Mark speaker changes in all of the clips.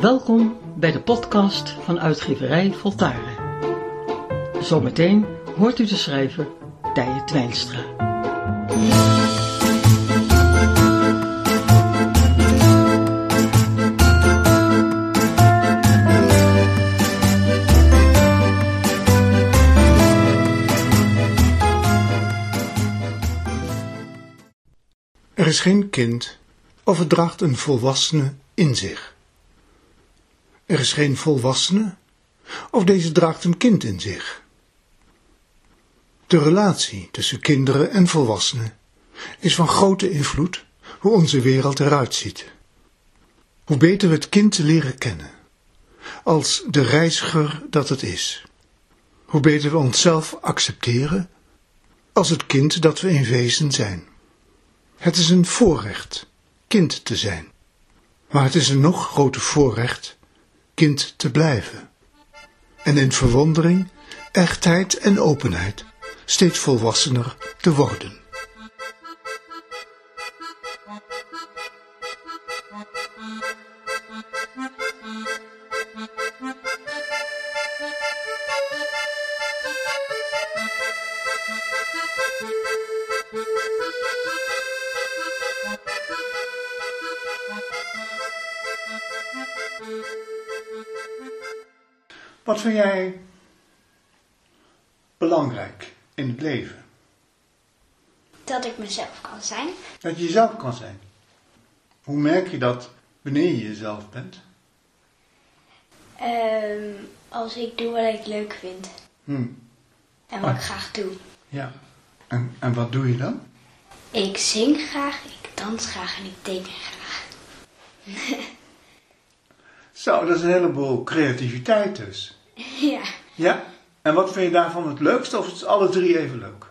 Speaker 1: Welkom bij de podcast van uitgeverij Voltaren. Zometeen hoort u de schrijver Tije Twijnstra.
Speaker 2: Er is geen kind of het draagt een volwassene in zich. Er is geen volwassene of deze draagt een kind in zich. De relatie tussen kinderen en volwassenen is van grote invloed hoe onze wereld eruit ziet. Hoe beter we het kind leren kennen, als de reiziger dat het is. Hoe beter we onszelf accepteren als het kind dat we in wezen zijn. Het is een voorrecht kind te zijn. Maar het is een nog groter voorrecht kind te blijven. En in verwondering, echtheid en openheid steeds volwassener te worden. Wat vind jij belangrijk in het leven?
Speaker 3: Dat ik mezelf kan zijn.
Speaker 2: Dat je jezelf kan zijn. Hoe merk je dat wanneer je jezelf bent?
Speaker 3: Ehm, als ik doe wat ik leuk vind.
Speaker 2: Hm,
Speaker 3: En wat
Speaker 2: Ah.
Speaker 3: ik graag doe.
Speaker 2: ja. En, en wat doe je dan?
Speaker 3: Ik zing graag, ik dans graag en ik teken graag.
Speaker 2: Zo, dat is een heleboel creativiteit dus.
Speaker 3: ja.
Speaker 2: Ja? En wat vind je daarvan het leukste of is het alle drie even leuk?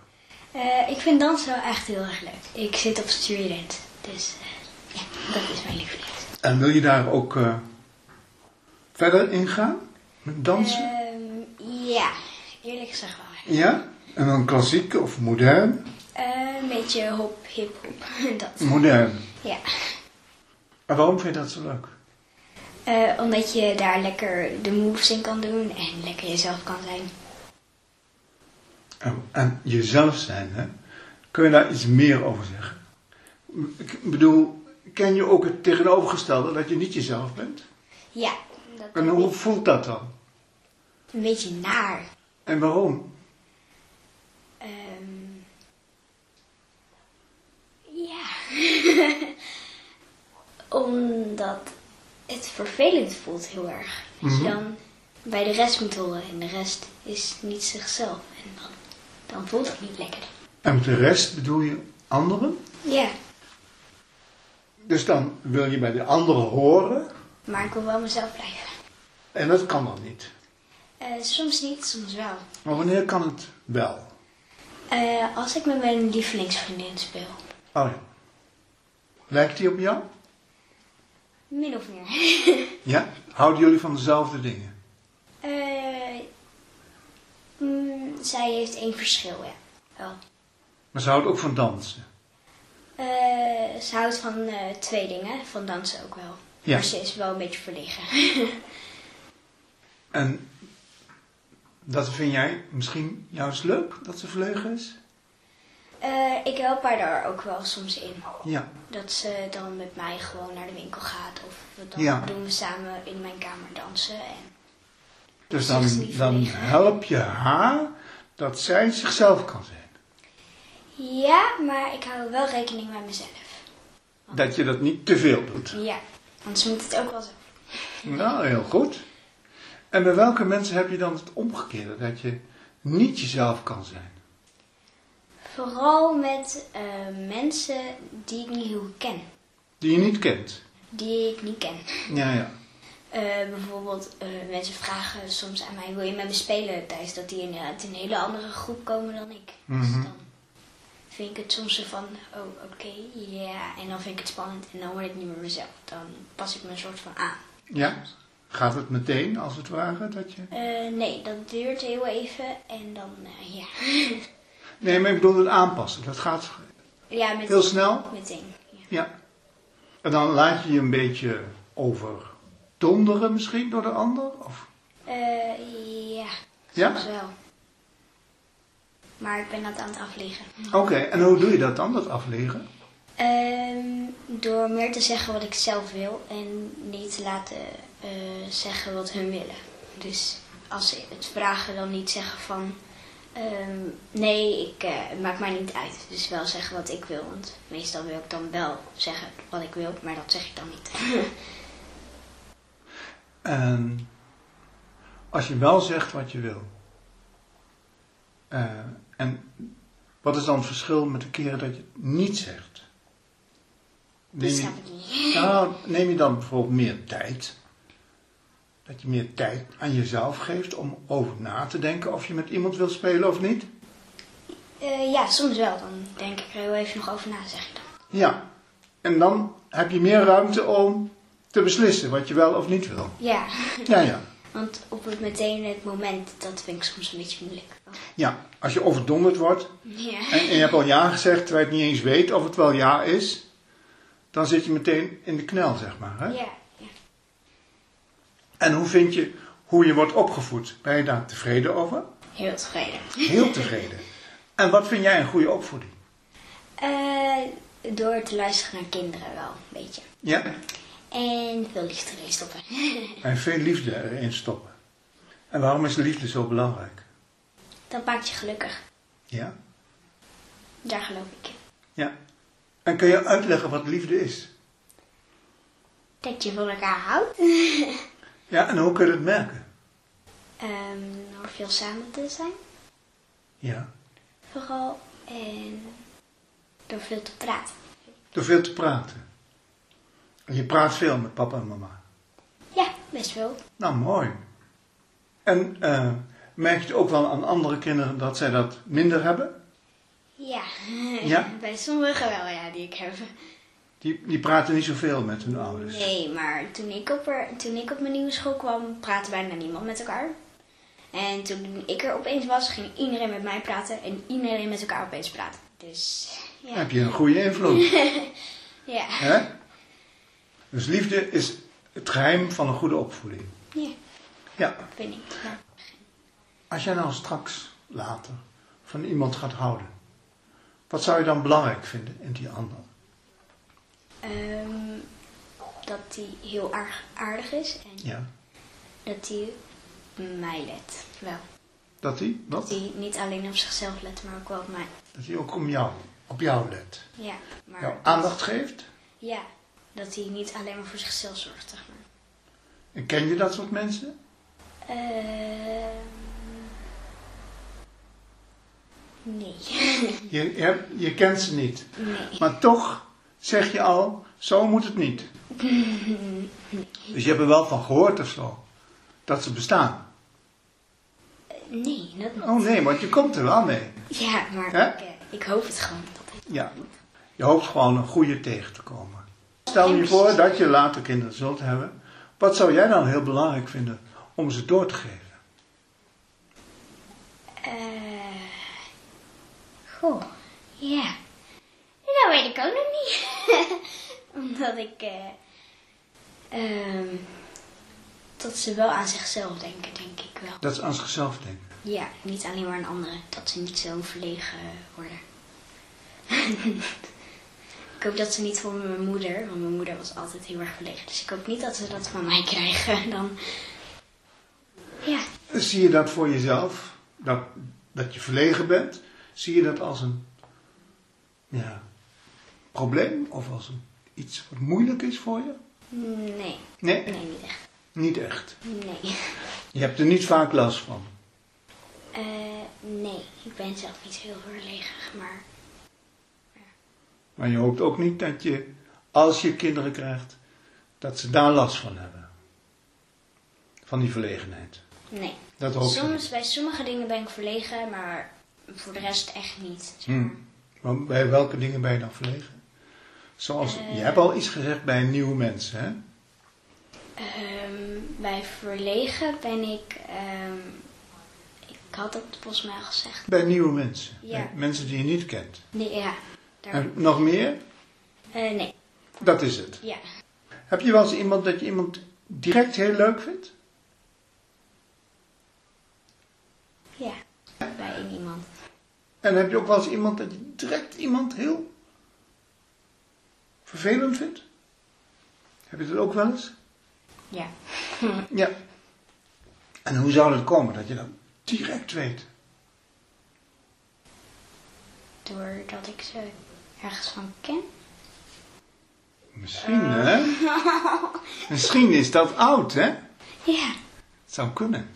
Speaker 3: Eh, ik vind dansen wel echt heel erg leuk. Ik zit op student. Dus eh, ja, dat is mijn lievelingslied.
Speaker 2: En wil je daar ook eh, verder in gaan? Met dansen?
Speaker 3: Ehm, ja, eerlijk gezegd wel. ja.
Speaker 2: Ja? En dan klassiek of modern?
Speaker 3: Eh, een beetje hop, hip, hop.
Speaker 2: Mm.
Speaker 3: dat.
Speaker 2: Modern.
Speaker 3: Ja.
Speaker 2: En waarom vind je dat zo leuk?
Speaker 3: Eh, omdat je daar lekker de moves in kan doen en lekker jezelf kan zijn.
Speaker 2: En, en jezelf zijn, hè? Kun je daar iets meer over zeggen? Ik bedoel, ken je ook het tegenovergestelde, dat je niet jezelf bent?
Speaker 3: Ja, dat
Speaker 2: En hoe voelt dat dan?
Speaker 3: een beetje naar.
Speaker 2: En waarom?
Speaker 3: Ehm ja. Omdat het vervelend voelt heel erg. Als je dan bij de rest moet horen en de rest is niet zichzelf. En dan, dan voelt het niet lekker.
Speaker 2: En met de rest bedoel je anderen?
Speaker 3: Ja,
Speaker 2: Dus dan wil je bij de anderen horen
Speaker 3: maar ik wil wel mezelf blijven.
Speaker 2: en dat kan dan niet.
Speaker 3: Eh, soms niet, soms wel.
Speaker 2: Maar wanneer kan het wel?
Speaker 3: Eh, als ik met mijn lievelingsvriendin speel.
Speaker 2: Oh ja. Lijkt die op jou?
Speaker 3: Min of meer.
Speaker 2: Ja? Houden jullie van dezelfde dingen?
Speaker 3: Eh, mm, zij heeft één verschil, ja. Wel.
Speaker 2: Maar ze houdt ook van dansen.
Speaker 3: Eh, ze houdt van eh, twee dingen, van dansen ook wel.
Speaker 2: Ja.
Speaker 3: Maar ze is wel een beetje verlegen.
Speaker 2: En dat vind jij misschien juist leuk, dat ze verlegen is?
Speaker 3: Eh, ik help haar daar ook wel soms in.
Speaker 2: Ja.
Speaker 3: Dat ze dan met mij gewoon naar de winkel gaat. Of we dan
Speaker 2: Ja.
Speaker 3: doen we samen in mijn kamer dansen. En,
Speaker 2: Dus
Speaker 3: Dat is
Speaker 2: dan,
Speaker 3: niet
Speaker 2: dan
Speaker 3: verlegen.
Speaker 2: help je haar dat zij zichzelf kan zijn.
Speaker 3: ja, maar ik hou wel rekening met mezelf.
Speaker 2: Dat je dat niet te veel doet.
Speaker 3: Ja, want ze moet het ook wel zo.
Speaker 2: Nou, heel goed. En bij welke mensen heb je dan het omgekeerde? Dat je niet jezelf kan zijn.
Speaker 3: Vooral met eh, mensen die ik niet heel ken.
Speaker 2: Die je niet kent.
Speaker 3: Die ik niet ken.
Speaker 2: Ja, ja.
Speaker 3: Eh, bijvoorbeeld, eh, mensen vragen soms aan mij: wil je met me spelen tijdens dat die in, eh, uit een hele andere groep komen dan ik?
Speaker 2: Mhm.
Speaker 3: Dus dan vind ik het soms zo van: oh, oké, ja. En dan vind ik het spannend en dan word ik niet meer mezelf. Dan pas ik me een soort van aan.
Speaker 2: Ja? Gaat het meteen, als het ware, dat je...
Speaker 3: Eh, nee, dat duurt heel even en dan, eh, ja.
Speaker 2: Nee, maar ik bedoel het aanpassen. Dat gaat
Speaker 3: ja, met,
Speaker 2: heel snel.
Speaker 3: meteen. Ja.
Speaker 2: Ja. En dan laat je je een beetje over donderen misschien door de ander? Of?
Speaker 3: Eh, ja, soms
Speaker 2: Ja?
Speaker 3: wel. Maar ik ben dat aan het afleggen.
Speaker 2: Oké, en hoe doe je dat dan, dat afleren?
Speaker 3: Ehm, door meer te zeggen wat ik zelf wil en niet te laten eh, zeggen wat hun willen. Dus als ze het vragen, dan niet zeggen van ehm, nee, ik, eh, het maakt mij niet uit. Dus wel zeggen wat ik wil, want meestal wil ik dan wel zeggen wat ik wil, maar dat zeg ik dan niet.
Speaker 2: En als je wel zegt wat je wil. eh, en wat is dan het verschil met de keren dat je het niet zegt?
Speaker 3: dat
Speaker 2: Neem je,
Speaker 3: snap ik niet.
Speaker 2: nou, neem je dan bijvoorbeeld meer tijd? Dat je meer tijd aan jezelf geeft om over na te denken of je met iemand wil spelen of niet?
Speaker 3: Eh, ja, soms wel. Dan denk ik er heel even nog over na, zeg ik dan.
Speaker 2: Ja. En dan heb je meer ruimte om te beslissen wat je wel of niet wil.
Speaker 3: Ja,
Speaker 2: Ja, ja.
Speaker 3: want op het meteen het moment, dat vind ik soms een beetje moeilijk.
Speaker 2: Ja, als je overdonderd wordt,
Speaker 3: Ja.
Speaker 2: En, en je hebt al ja gezegd, terwijl je het niet eens weet of het wel ja is. Dan zit je meteen in de knel, zeg maar. Hè?
Speaker 3: Ja, ja.
Speaker 2: En hoe vind je hoe je wordt opgevoed? Ben je daar tevreden over?
Speaker 3: heel tevreden.
Speaker 2: Heel tevreden. en wat vind jij een goede opvoeding?
Speaker 3: Eh, door te luisteren naar kinderen wel, een beetje.
Speaker 2: Ja?
Speaker 3: En veel liefde erin stoppen.
Speaker 2: En veel liefde erin stoppen. En waarom is liefde zo belangrijk?
Speaker 3: dat maakt je gelukkig.
Speaker 2: Ja?
Speaker 3: Daar geloof ik in.
Speaker 2: Ja. En kun je uitleggen wat liefde is?
Speaker 3: Dat je van elkaar houdt.
Speaker 2: Ja, en hoe kun je dat merken?
Speaker 3: Ehm door veel samen te zijn,
Speaker 2: Ja.
Speaker 3: vooral. En door veel te praten.
Speaker 2: Door veel te praten. En je praat veel met papa en mama.
Speaker 3: Ja, best wel.
Speaker 2: Nou, mooi. En eh, merk je het ook wel aan andere kinderen dat zij dat minder hebben?
Speaker 3: Ja.
Speaker 2: Ja?
Speaker 3: Bij sommigen wel, ja, die ik heb.
Speaker 2: Die, die praten niet zoveel met hun ouders.
Speaker 3: Nee, maar toen ik, op er, toen ik op mijn nieuwe school kwam, praatte bijna niemand met elkaar. En toen ik er opeens was, ging iedereen met mij praten en iedereen met elkaar opeens praten. Dus
Speaker 2: Dan
Speaker 3: ja.
Speaker 2: heb je een goede invloed.
Speaker 3: Ja.
Speaker 2: hè? Dus liefde is het geheim van een goede opvoeding.
Speaker 3: Ja,
Speaker 2: Ja,
Speaker 3: vind ik. Ja.
Speaker 2: als jij nou straks later van iemand gaat houden, wat zou je dan belangrijk vinden in die ander?
Speaker 3: Ehm, dat hij heel aar- aardig is en
Speaker 2: Ja.
Speaker 3: dat hij op mij let. Wel.
Speaker 2: Dat die?
Speaker 3: Dat
Speaker 2: Wat?
Speaker 3: hij niet alleen op zichzelf let, maar ook wel op mij.
Speaker 2: Dat die ook om jou, op jou let.
Speaker 3: Ja, maar
Speaker 2: Jou aandacht geeft?
Speaker 3: Ja, dat hij niet alleen maar voor zichzelf zorgt, zeg maar.
Speaker 2: En ken je dat soort mensen?
Speaker 3: Ehm, nee.
Speaker 2: Je, je, hebt- je kent ze niet.
Speaker 3: nee.
Speaker 2: Maar toch zeg je al, zo moet het niet. Dus je hebt er wel van gehoord of zo. Dat ze bestaan.
Speaker 3: Nee, dat niet.
Speaker 2: Oh nee, want je komt er wel mee.
Speaker 3: Ja, maar
Speaker 2: Hè?
Speaker 3: ik, eh, ik hoop het gewoon. Dat hij-
Speaker 2: Ja. Je hoopt gewoon een goede tegen te komen. Stel je voor dat je later kinderen zult hebben. Wat zou jij dan heel belangrijk vinden om ze door te geven?
Speaker 3: Eh, goh, ja. Dat weet ik ook nog niet. Omdat ik... eh, ehm, dat ze wel aan zichzelf denken, denk ik wel.
Speaker 2: Dat ze aan zichzelf denken.
Speaker 3: Ja, niet alleen maar aan anderen. Dat ze niet zo verlegen worden. ik hoop dat ze niet van mijn moeder, want mijn moeder was altijd heel erg verlegen. Dus ik hoop niet dat ze dat van mij krijgen. Dan... Ja,
Speaker 2: Zie je dat voor jezelf? Dat, dat je verlegen bent? Zie je dat als een ja, probleem of als een, iets wat moeilijk is voor je?
Speaker 3: nee.
Speaker 2: Nee,
Speaker 3: Nee, niet echt.
Speaker 2: niet echt.
Speaker 3: Nee.
Speaker 2: Je hebt er niet vaak last van.
Speaker 3: Eh, nee, ik ben zelf niet heel verlegen, maar
Speaker 2: Maar je hoopt ook niet dat je, als je kinderen krijgt, dat ze daar last van hebben. Van die verlegenheid.
Speaker 3: nee.
Speaker 2: Dat hoop je
Speaker 3: Soms, bij sommige dingen ben ik verlegen, maar voor de rest echt niet. zeg maar.
Speaker 2: Hmm. Maar bij welke dingen ben je dan verlegen? Zoals,
Speaker 3: Eh.
Speaker 2: je hebt al iets gezegd bij een nieuw mens, hè?
Speaker 3: Ehm, bij verlegen ben ik, ehm, ik had dat volgens mij al gezegd.
Speaker 2: Bij nieuwe mensen.
Speaker 3: Ja.
Speaker 2: Bij mensen die je niet kent.
Speaker 3: Nee, ja. Daar,
Speaker 2: En nog meer?
Speaker 3: Eh, nee,
Speaker 2: Dat is het.
Speaker 3: ja.
Speaker 2: Heb je wel eens iemand dat je iemand direct heel leuk vindt?
Speaker 3: Ja, bij één iemand.
Speaker 2: En heb je ook wel eens iemand dat je direct iemand heel vervelend vindt? Heb je dat ook wel eens?
Speaker 3: Ja.
Speaker 2: Ja. En hoe zou dat komen dat je dat direct weet?
Speaker 3: Doordat ik ze ergens van ken.
Speaker 2: Misschien, hè? Misschien is dat oud, hè?
Speaker 3: Ja.
Speaker 2: Het zou kunnen.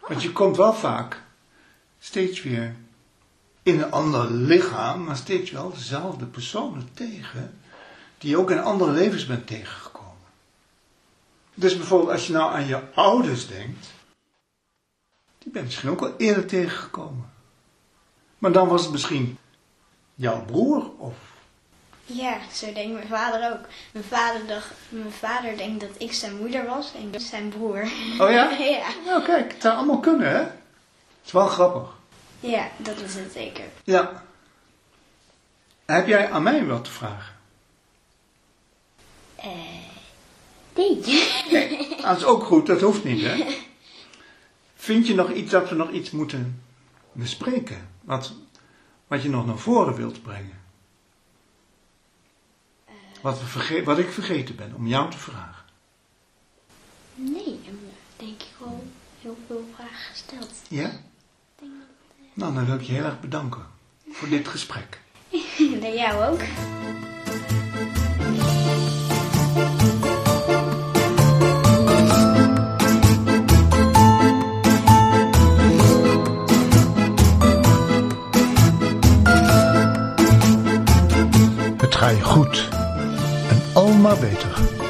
Speaker 2: Want je komt wel vaak steeds weer in een ander lichaam, maar steeds wel dezelfde personen tegen, die je ook in andere levens bent tegengekomen. Dus bijvoorbeeld als je nou aan je ouders denkt, die ben je misschien ook al eerder tegengekomen. Maar dan was het misschien jouw broer of
Speaker 3: Ja, zo denkt mijn vader ook. Mijn vader, dacht, mijn vader denkt dat ik zijn moeder was en ik zijn broer.
Speaker 2: Oh ja?
Speaker 3: ja.
Speaker 2: Nou kijk, het zou allemaal kunnen, hè? Het is wel grappig.
Speaker 3: Ja, dat is het zeker.
Speaker 2: Ja. Heb jij aan mij wat te vragen?
Speaker 3: Nee.
Speaker 2: Nee, dat Ah, is ook goed, dat hoeft niet, hè? Vind je nog iets dat we nog iets moeten bespreken? Wat, wat je nog naar voren wilt brengen? Wat, we verge- wat ik vergeten ben om jou te vragen.
Speaker 3: Nee, ik heb denk ik wel heel veel vragen gesteld.
Speaker 2: Ja? Nou, dan wil ik je heel erg bedanken voor dit gesprek.
Speaker 3: En jou ook.
Speaker 4: Het ga je goed en al maar beter.